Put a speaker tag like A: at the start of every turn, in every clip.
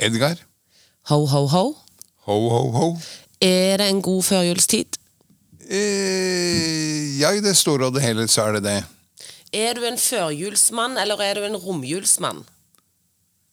A: Edgar,
B: Ho, ho, ho.
A: ho, ho, ho.
B: Er det en god førjulstid?
A: Eh, ja, i det store og det hele så er det det.
B: Er du en førjulsmann, eller er du en romjulsmann?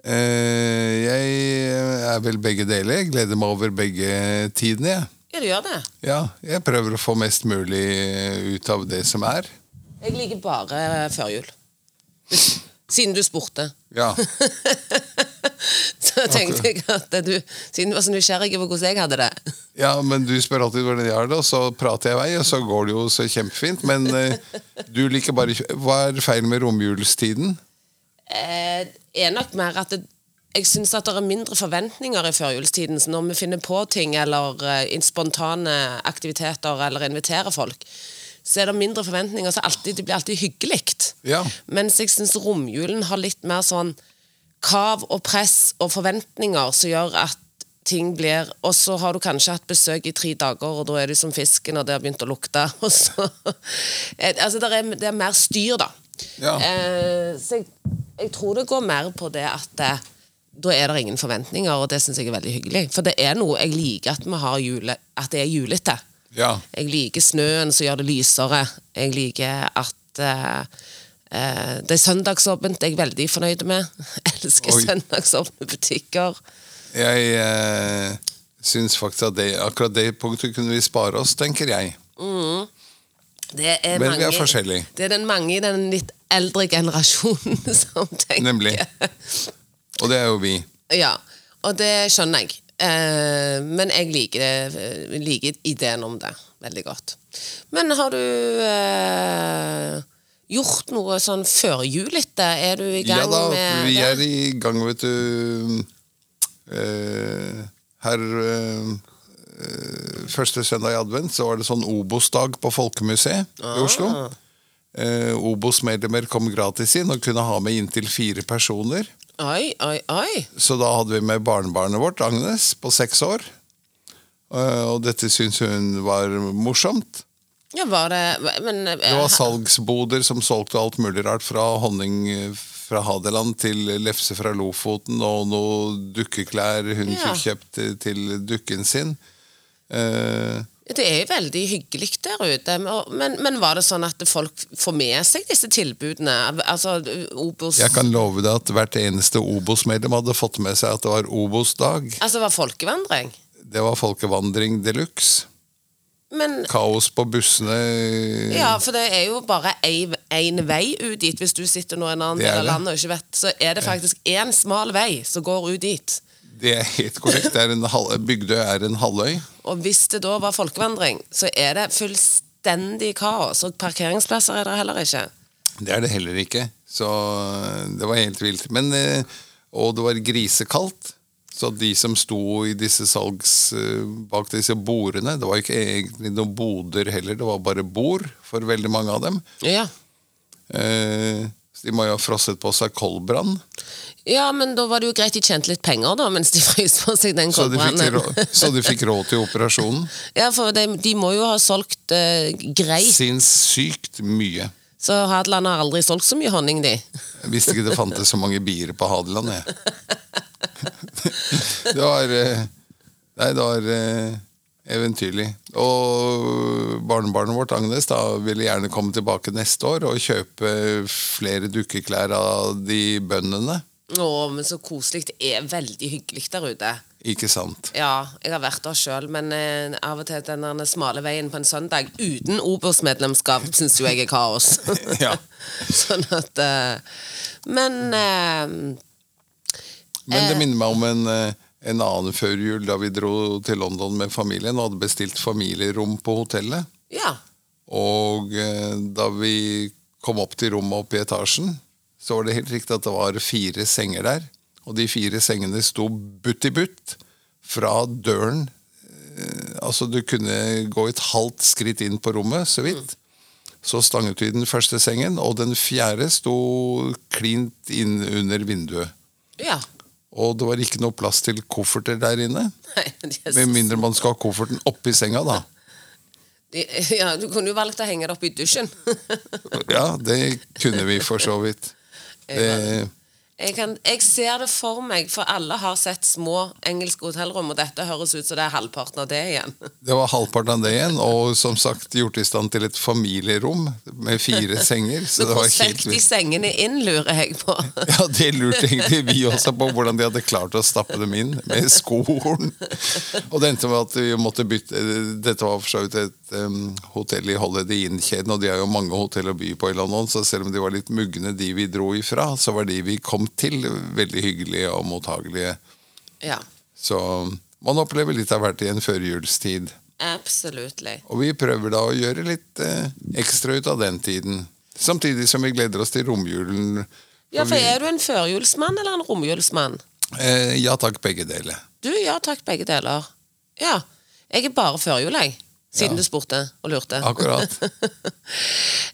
A: Eh, jeg eh, er vel begge deler. Jeg gleder meg over begge tidene, jeg.
B: Ja, du gjør det.
A: Ja, jeg prøver å få mest mulig eh, ut av det som er.
B: Jeg liker bare førjul. Siden du spurte.
A: Ja.
B: Så tenkte jeg at du, siden du var så nysgjerrig på hvordan jeg hadde det.
A: Ja, men du spør alltid hvordan jeg har det, og så prater jeg i vei, og så går det jo så kjempefint. Men eh, du liker bare ikke Hva er feil med romjulstiden?
B: eh, er nok mer at det, jeg syns at det er mindre forventninger i førjulstiden. Så når vi finner på ting eller eh, in- spontane aktiviteter eller inviterer folk, så er det mindre forventninger. Så alltid, det blir alltid hyggelig.
A: Ja.
B: Mens jeg syns romjulen har litt mer sånn krav og press og forventninger som gjør at ting blir Og så har du kanskje hatt besøk i tre dager, og da er du som fisken, og det har begynt å lukte. Og så, Eh, altså, det er, det er mer styr, da.
A: Ja.
B: Eh, så jeg, jeg tror det går mer på det at eh, da er det ingen forventninger, og det syns jeg er veldig hyggelig. For det er noe jeg liker at, vi har jule, at det er julete.
A: Ja.
B: Jeg liker snøen som gjør det lysere. Jeg liker at eh, eh, det er søndagsåpent, det er jeg veldig fornøyd med. Jeg elsker
A: Oi.
B: søndagsåpne butikker.
A: Jeg eh, syns faktisk at det, akkurat det punktet kunne vi spare oss, tenker jeg.
B: Det er
A: Men vi
B: mange,
A: er forskjellige.
B: Det er den mange i den litt eldre generasjonen som tenker
A: Nemlig. Og det er jo vi.
B: Ja, og det skjønner jeg. Eh, men jeg liker, det, eh, liker ideen om det veldig godt. Men har du eh, gjort noe sånn førjulete? Er du i gang
A: Ja da,
B: med
A: vi
B: det?
A: er i gang, vet du. Eh, her eh, eh, Første søndag i advent så var det sånn Obos-dag på Folkemuseet
B: Ah.
A: i Oslo. Eh, Obos-medlemmer kom gratis inn og kunne ha med inntil fire personer.
B: Oi, oi, oi.
A: Så da hadde vi med barnebarnet vårt, Agnes, på seks år. Eh, og dette syntes hun var morsomt.
B: Ja, var det Men eh,
A: Det var salgsboder som solgte alt mulig rart, fra honning fra Hadeland til lefse fra Lofoten og noe dukkeklær hun
B: Ja.
A: fikk kjøpt til dukken sin. Eh,
B: det er jo veldig hyggelig der ute. Men, men var det sånn at folk får med seg disse tilbudene? Altså, Obos
A: jeg kan love deg at hvert eneste Obos-medlem hadde fått med seg at det var Obos-dag.
B: Altså, det var folkevandring?
A: Det var folkevandring de luxe.
B: Men
A: Kaos på bussene.
B: Ja,
A: Mm.
B: for det er jo bare én vei ut dit. Hvis du sitter nå i en annen
A: Det er
B: del av
A: det.
B: landet og ikke vet, så er det faktisk én smal vei som går ut dit.
A: Det er helt korrekt. Det er en halv, Bygdøy er en halvøy.
B: Og hvis det da var folkevandring, så er det fullstendig kaos. Og parkeringsplasser er det heller ikke.
A: Det er det heller ikke. Så eh, det var helt vilt. Men, eh, og det var grisekaldt. Så de som sto i disse salgs, eh, bak disse bordene Det var ikke egentlig noen boder heller, det var bare bord for veldig mange av dem.
B: Ja.
A: Eh, Så de må jo ha frosset på seg koldbrann.
B: ja, men da var det jo greit de tjente litt penger, da, mens de frøs på seg den
A: Så de fikk,
B: koldbrannen.
A: rå- så de fikk råd til operasjonen.
B: Ja, for de, de må jo ha solgt eh, greit.
A: Sinnssykt mye.
B: Så Hadeland har aldri solgt så mye honning, de.
A: Jeg visste ikke det fantes så mange bier på Hadeland, jeg. Det var eh, Nei, det var eh, eventyrlig. Og barnebarnet vårt, Agnes, da ville gjerne komme tilbake neste år og kjøpe flere dukkeklær av de bøndene.
B: Å, men så koselig. Det er veldig hyggelig der ute.
A: Ikke sant?
B: Ja, jeg har vært der sjøl, men eh, av og til den der smale veien på en søndag uten Obos-medlemskap syns jo jeg er kaos.
A: Ja.
B: sånn at eh, Men eh,
A: Men det minner meg om en, eh, en annen førjul da vi dro til London med familien og hadde bestilt familierom på hotellet.
B: ja.
A: Og eh, da vi kom opp til rommet oppe i etasjen, så var det helt riktig at det var fire senger der. Og de fire sengene sto butt i butt fra døren. Eh, Altså, du kunne gå et halvt skritt inn på rommet, så vidt. Så stanget vi den første sengen, og den fjerde sto klint inn under vinduet.
B: Ja.
A: Og det var ikke noe plass til kofferter der inne.
B: Nei, men Jesus.
A: Med mindre man skal ha kofferten oppi senga, da.
B: De- Ja, du kunne jo valgt å henge det opp i dusjen.
A: Ja, det kunne vi for så vidt. Eh,
B: Jeg, kan, jeg ser det for meg, for alle har sett små engelske hotellrom, og dette høres ut som det er halvparten av det igjen.
A: Det var halvparten av det igjen, og som sagt gjort i stand til et familierom med fire senger. Så
B: Men
A: det
B: hvor
A: var
B: fikk
A: helt
B: de
A: vilt.
B: sengene inn, lurer jeg på.
A: Ja, det lurte egentlig vi også på, hvordan de hadde klart å stappe dem inn med skohorn. Og det endte med at vi måtte bytte Dette var for så vidt et em, hotell i Holiday Inn-kjeden, og de har jo mange hotell å by på i London, så selv om de var litt mugne, de vi dro ifra, så var de vi kom til, veldig hyggelige og mottagelige.
B: Ja,
A: Så man opplever litt av hvert i en førjulstid.
B: absolutely.
A: Og vi prøver da å gjøre litt eh, ekstra ut av den tiden. Samtidig som vi gleder oss til romjulen.
B: Ja, for
A: vi,
B: er du en førjulsmann eller en romjulsmann?
A: eh, ja takk, begge deler.
B: Du, ja takk, begge deler. Ja. Jeg er bare førjul, jeg. Siden du spurte og lurte.
A: Akkurat.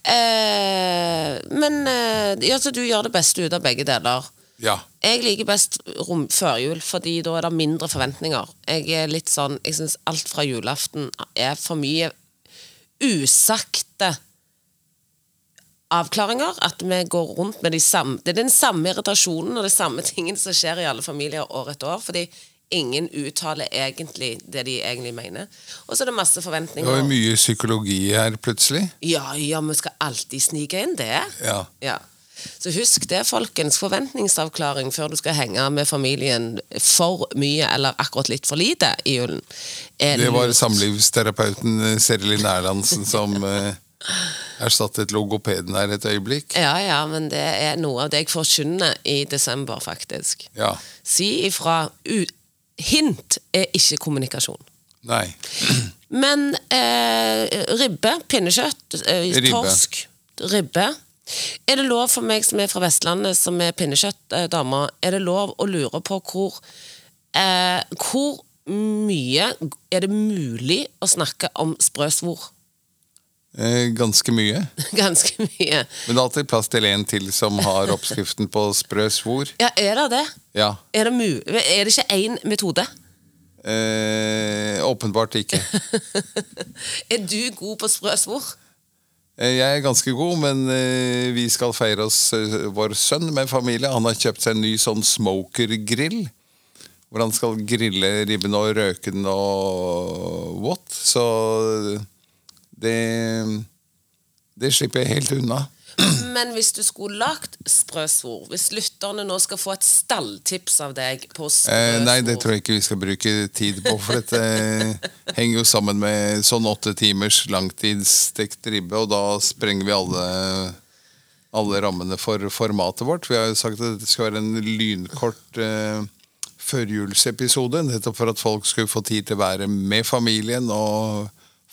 B: Eh, men eh, ja, så du gjør det beste ut av begge deler.
A: Ja.
B: Jeg liker best rom, førjul, fordi da er det mindre forventninger. Jeg er litt sånn, jeg syns alt fra julaften er for mye usagte avklaringer. At vi går rundt med de samme Det er den samme irritasjonen og de samme tingene som skjer i alle familier år etter år. fordi Ingen uttaler egentlig det de egentlig mener. Og så er det masse
A: Det var
B: forventninger.
A: jo mye psykologi her plutselig.
B: Ja, ja, vi skal alltid snike inn det.
A: Ja.
B: Ja. Så husk det, folkens. Forventningsavklaring før du skal henge med familien for mye eller akkurat litt for lite i julen. Er
A: Det var
B: lurt.
A: samlivsterapeuten eh, Serlin Erlandsen som eh, erstattet logopeden her et øyeblikk.
B: Ja, ja, men det er noe av det jeg forkynner i desember, faktisk.
A: Ja.
B: Si ifra. U hint er ikke kommunikasjon.
A: Nei.
B: Men eh, ribbe, pinnekjøtt, eh,
A: Ribbe.
B: torsk, ribbe Er det lov for meg som er fra Vestlandet, som er pinnekjøttdame, er det lov å lure på hvor eh, Hvor mye er det mulig å snakke om sprøsvor?
A: Eh, ganske mye.
B: Ganske mye.
A: Men det er alltid plass til en til som har oppskriften på sprø svor.
B: Ja, er det det?
A: Ja.
B: Er det, mu er det ikke én metode?
A: Eh, åpenbart ikke.
B: Er du god på sprøsvor?
A: Eh, Jeg er ganske god, men eh, vi skal feire oss eh, vår sønn med familie. Han har kjøpt seg en ny sånn smoker-grill. Hvor han skal grille ribben og røke den og what. Så eh, det Det slipper jeg helt unna.
B: Men hvis du skulle lagt sprøsvor, hvis lytterne nå skal få et stalltips av deg på
A: Eh,
B: sprøsvor
A: nei, det tror jeg ikke vi skal bruke tid på, for dette eh, henger jo sammen med sånn åtte timers langtidsstekt ribbe, og da sprenger vi alle, alle rammene for formatet vårt. Vi har jo sagt at det skal være en lynkort eh, førjulsepisode, nettopp for at folk skulle få tid til å være med familien og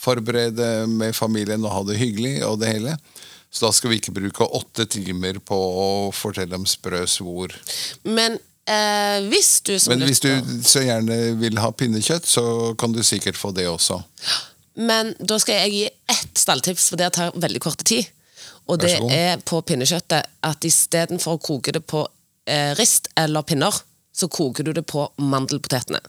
A: forberede med familien og ha det hyggelig og det hele. Så da skal vi ikke bruke åtte timer på å fortelle om sprø svor.
B: Men eh, hvis du som
A: Men hvis du
B: lytter
A: så gjerne vil ha pinnekjøtt, så kan du sikkert få det også.
B: Men da skal jeg gi ett stalltips, for det tar veldig kort tid. Og
A: Vær
B: det
A: så god.
B: er på pinnekjøttet at istedenfor å koke det på eh, rist eller pinner, så koker du det på mandelpotetene.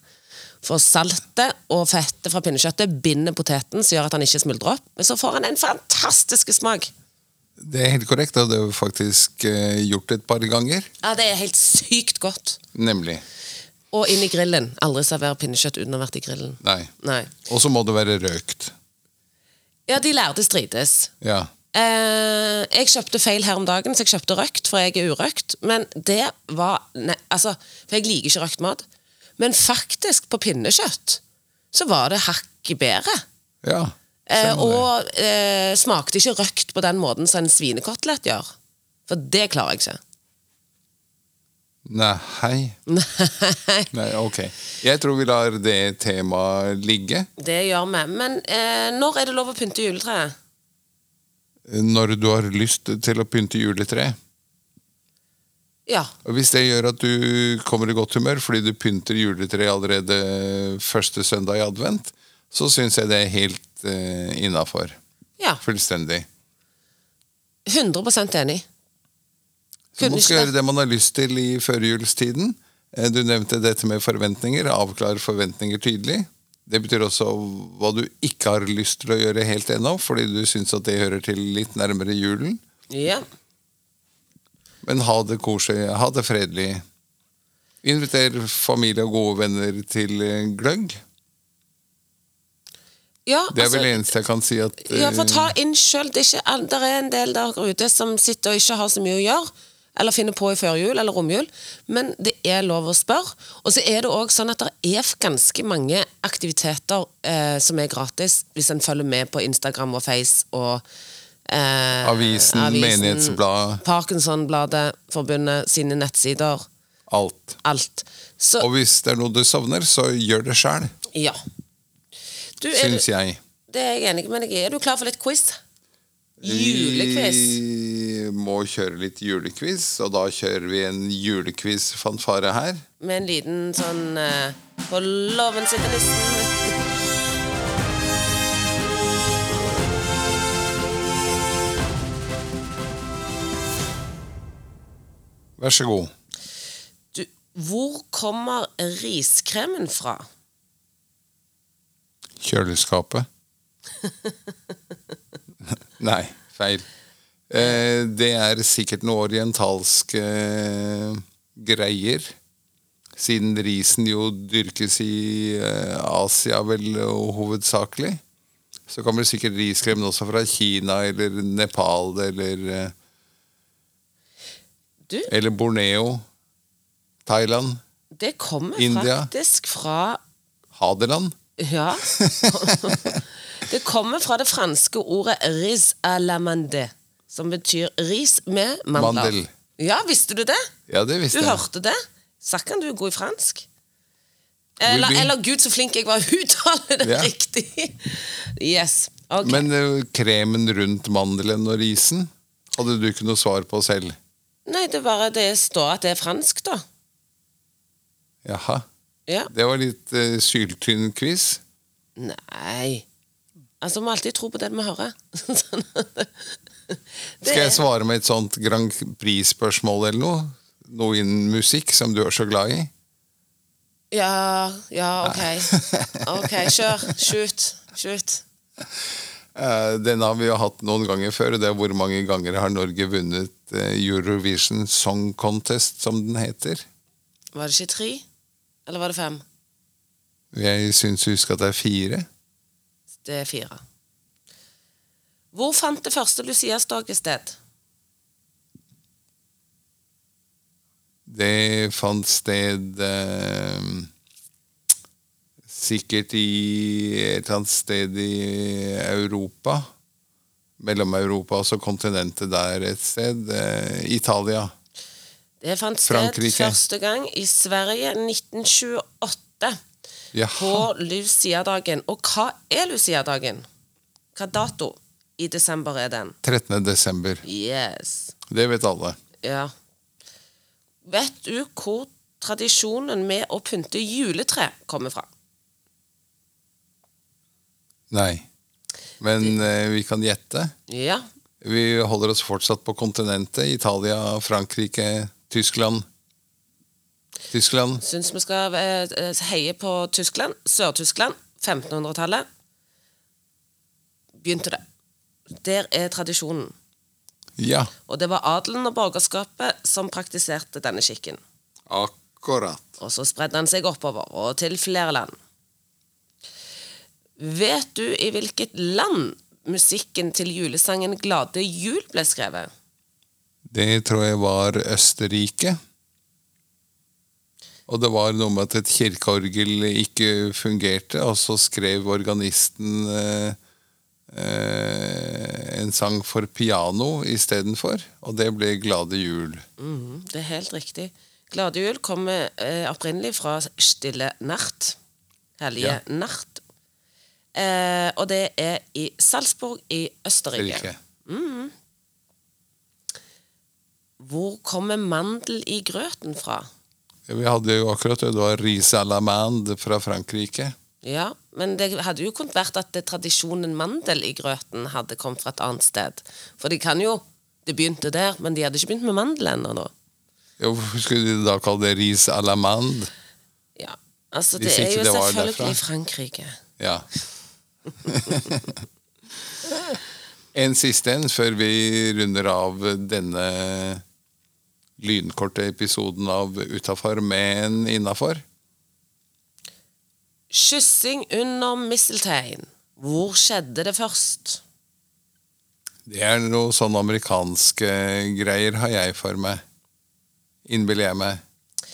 B: For saltet og fettet fra pinnekjøttet binder poteten, som gjør at han ikke smuldrer opp. Men så får han en fantastisk smak.
A: Det er helt korrekt, og det har vi faktisk eh, gjort et par ganger.
B: Ja, Det er helt sykt godt.
A: Nemlig.
B: Og inn i grillen. Aldri server pinnekjøtt uten å ha vært i grillen.
A: Nei.
B: Nei.
A: Og så må det være røkt.
B: Ja, de lærde strides.
A: Ja.
B: Eh, jeg kjøpte feil her om dagen, så jeg kjøpte røkt, for jeg er urøkt. Men det var nei, altså, For jeg liker ikke røkt mat. Men faktisk, på pinnekjøtt så var det hakket bedre.
A: ja.
B: Eh,
A: Stemmer det.
B: og eh, smakte ikke røkt på den måten som en svinekotelett gjør. For det klarer jeg ikke.
A: Nei, hei.
B: Nei.
A: Nei, ok. Jeg tror vi lar det temaet ligge
B: Det gjør vi. Men eh, når er det lov å pynte juletreet?
A: når du har lyst til å pynte juletre.
B: Ja.
A: Og Hvis det gjør at du kommer i godt humør fordi du pynter juletreet allerede første søndag i advent, så syns jeg det er helt eh, innafor.
B: ja.
A: Fullstendig.
B: 100 enig.
A: Så
B: Kunne
A: man
B: ikke
A: skal
B: det.
A: gjøre det man har lyst til i førjulstiden. Eh, Du nevnte dette med forventninger. Avklare forventninger tydelig. Det betyr også hva du ikke har lyst til å gjøre helt ennå, fordi du syns at det hører til litt nærmere julen.
B: Ja.
A: Men ha det koselig, ha det fredelig. Inviter familie og gode venner til eh, gløgg.
B: ja
A: Det er
B: altså-
A: vel det eneste jeg kan si at
B: Ja, for
A: eh,
B: ta inn sjøl. Det er, ikke, all- der er en del der ute som sitter og ikke har så mye å gjøre. Eller finner på i førjul eller romjul. Men det er lov å spørre. Og så er det òg sånn at det er ganske mange aktiviteter eh, som er gratis, hvis en følger med på Instagram og Face og eh,
A: Avisen, Menighetsbladet.
B: Parkinsonbladet, forbundet, sine nettsider.
A: alt.
B: Alt. Så
A: Og hvis det er noe du savner, så gjør det sjæl,
B: ja. Du, er,
A: syns
B: du-
A: jeg.
B: det er jeg enig med deg i. Er du klar for litt quiz? Julequiz.
A: Vi må kjøre litt julequiz, og da kjører vi en julequiz-fanfare her.
B: med en liten sånn eh, På låven sitter nissen.
A: Vær så god.
B: Du, hvor kommer riskremen fra?
A: Kjøleskapet. Nei, feil. Eh, det er sikkert noe orientalske eh, greier. Siden risen jo dyrkes i eh, Asia vel og hovedsakelig, så kommer det sikkert riskremen også fra Kina eller Nepal eller eh,
B: Du,
A: Eller Borneo, Thailand,
B: det kommer
A: India.
B: faktisk fra
A: Hadeland.
B: Ja. det kommer fra det franske ordet ris à la mandé, som betyr ris med mandler.
A: Mandel.
B: Ja, visste du det?
A: Ja, det
B: Du
A: visste jeg.
B: hørte det? Sakkan, du er god i fransk. Eller,
A: Oui, oui.
B: eller gud, så flink jeg var til å uttale det
A: Ja.
B: riktig! Yes. ok
A: Men eh, kremen rundt mandelen og risen hadde du ikke noe svar på selv.
B: Nei, det er bare det står at det er fransk, da.
A: Jaha.
B: Ja.
A: Det var litt uh, syltynn quiz.
B: Nei Altså, vi må alltid tro på det vi hører. Sånn.
A: Skal jeg svare med et sånt Grand Prix-spørsmål eller noe? Noe innen musikk som du er så glad i?
B: Ja, ja, ok. Ok, kjør. Shoot. Shoot.
A: Eh, den har vi jo hatt noen ganger før. og Det er hvor mange ganger har Norge vunnet eh, Eurovision Song Contest, som den heter?
B: Var det ikke tre? Eller var det fem?
A: Jeg syns å huske at det er fire.
B: Det er fire. Hvor fant det første Lucias-toget sted?
A: Det fant sted eh, sikkert i et eller annet sted i Europa. Mellom-Europa, altså kontinentet der et sted. Eh, Italia.
B: Det fant sted
A: Frankrike.
B: første gang i Sverige 1928. på
A: Jaha.
B: Lucia-dagen. Og hva er Lucia-dagen? Hva dato i desember er den?
A: 13. desember.
B: Yes.
A: Det vet alle.
B: Ja. Vet du hvor tradisjonen med å pynte juletre kommer fra?
A: Nei. Men eh, vi kan gjette.
B: Ja.
A: Vi holder oss fortsatt på kontinentet. Italia, Frankrike, Tyskland. Tyskland.
B: Syns vi skal eh, eh, heie på Tyskland. Sør-Tyskland. 1500-tallet. Begynte det. Der er tradisjonen.
A: Ja.
B: Og det var adelen og borgerskapet som praktiserte denne skikken.
A: Akkurat.
B: Og så spredde han seg oppover og til flere land. Vet du i hvilket land musikken til julesangen 'Glade jul' ble skrevet?
A: Det tror jeg var Østerrike. Og det var noe med at et kirkeorgel ikke fungerte, og så skrev organisten eh, eh, en sang for piano istedenfor, og det ble 'Glade jul'.
B: Mhm, det er helt riktig. 'Glade jul' kommer eh, opprinnelig fra 'Stille natt'. Hellige
A: Ja.
B: natt. Eh, og det er i Salzburg i Østerrike.
A: Østerrike.
B: Hvor kommer mandel i grøten fra?
A: Vi hadde jo akkurat det, det var ris à la mande fra Frankrike.
B: Ja, men det hadde jo kunnet vært at det tradisjonen mandel i grøten hadde kommet fra et annet sted. For de kan jo Det begynte der, men de hadde ikke begynt med mandel ennå, da.
A: Ja, Hvorfor skulle de da kalle det ris à la mande?
B: Ja. Altså, det
A: Hvis
B: er
A: ikke
B: jo
A: det var derfra.
B: selvfølgelig Frankrike.
A: Ja. en siste en før vi runder av denne lynkorte episoden av Utafor, men innafor.
B: Kyssing under misteltein. Hvor skjedde det først?
A: Det er noe sånn amerikanske greier har jeg for meg. Innbiller jeg meg.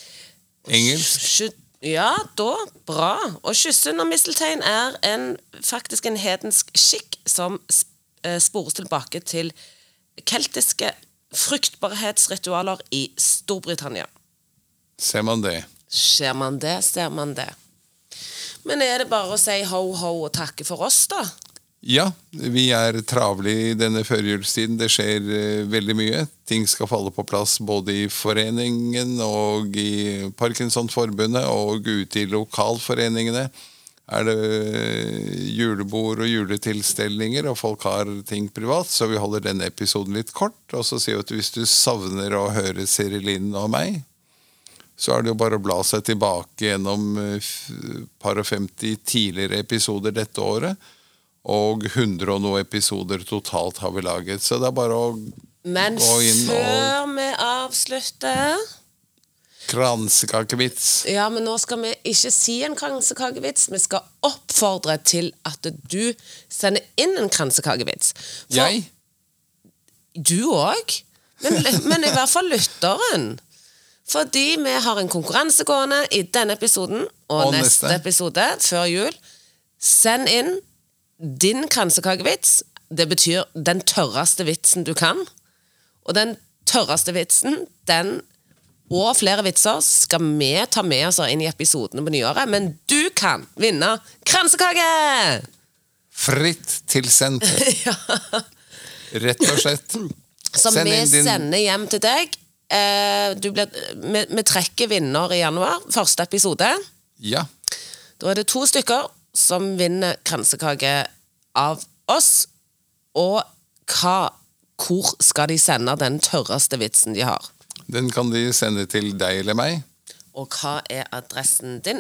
A: Engelsk?
B: Sky- Ja, da. Bra. Å kysse under misteltein er en, faktisk en hedensk skikk som sp- eh, spores tilbake til keltiske fruktbarhetsritualer i Storbritannia.
A: Ser man det?
B: Ser man det, ser man det. Men er det bare å si ho-ho og takke for oss, da?
A: Ja, vi er travle i denne førjulstiden. Det skjer eh, veldig mye. Ting skal falle på plass både i foreningen og i Parkinsonforbundet og ute i lokalforeningene. Er det eh, julebord og juletilstelninger, og folk har ting privat, så vi holder denne episoden litt kort. Og så sier vi at hvis du savner å høre Siri Linn og meg, så er det jo bare å bla seg tilbake gjennom eh, f- par og 50 tidligere episoder dette året. Og 100 og noe episoder totalt har vi laget. Så det er bare å
B: Men
A: gå inn og
B: før vi avslutter
A: kransekakevits.
B: Ja, men nå skal vi ikke si en kransekakevits. Vi skal oppfordre til at du sender inn en kransekakevits. For
A: Jeg?
B: Du òg. Men, men i hvert fall lytteren. Fordi vi har en konkurranse gående i denne episoden og,
A: Og
B: neste.
A: neste.
B: episode før jul. Send inn din kransekakevits. Det betyr den tørreste vitsen du kan. Og den tørreste vitsen, den og flere vitser skal vi ta med oss inn i episodene på nyåret. Men du kan vinne kransekake!
A: Fritt tilsendt. Rett og slett.
B: Som
A: Send
B: vi
A: inn din-
B: sender hjem til deg. Eh, du blir, vi, vi trekker vinner i januar, første episode.
A: Ja.
B: Da er det to stykker som vinner kransekake av oss. Og hva, hvor skal de sende den tørreste vitsen de har?
A: Den kan de sende til deg eller meg.
B: Og hva er adressen din?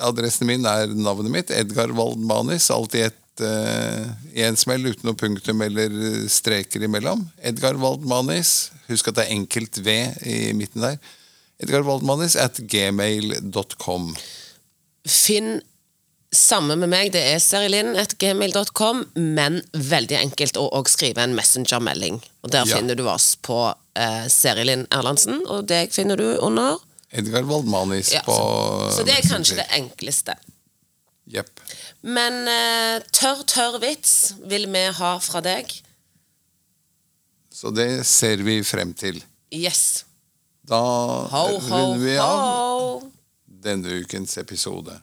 A: Adressen min er navnet mitt, Edgar Waldmanis. Alt i ett eh, i en smell uten noe punktum eller streker imellom. Edgar Waldmanis. Husk at det er enkelt V i midten der. Edgar Waldmanis at gmail.com.
B: Finn samme med meg, det er serilinn.gmail.com, men veldig enkelt å også skrive en messengermelding. Og der
A: Ja.
B: finner du oss på eh, Serilinn Erlandsen, og deg finner du under.
A: Edgar Waldmanis
B: Ja,
A: på Ah,
B: Så det er kanskje det enkleste.
A: Jepp.
B: Men eh, tørr, tørr vits vil vi ha fra deg.
A: Så det ser vi frem til.
B: Yes.
A: Da
B: Ho, ho,
A: runder Eh, vi av
B: ho.
A: denne ukens episode.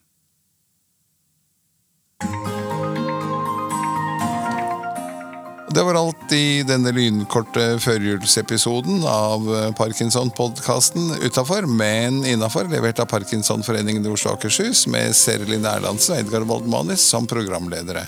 A: Det var alt i denne lynkorte førjulsepisoden av Parkinson-podkasten Utafor, men innafor, levert av Parkinsonforeningen i Oslo og Akershus, med Serlin Erlandsen og Edgar Waldmanis som programledere.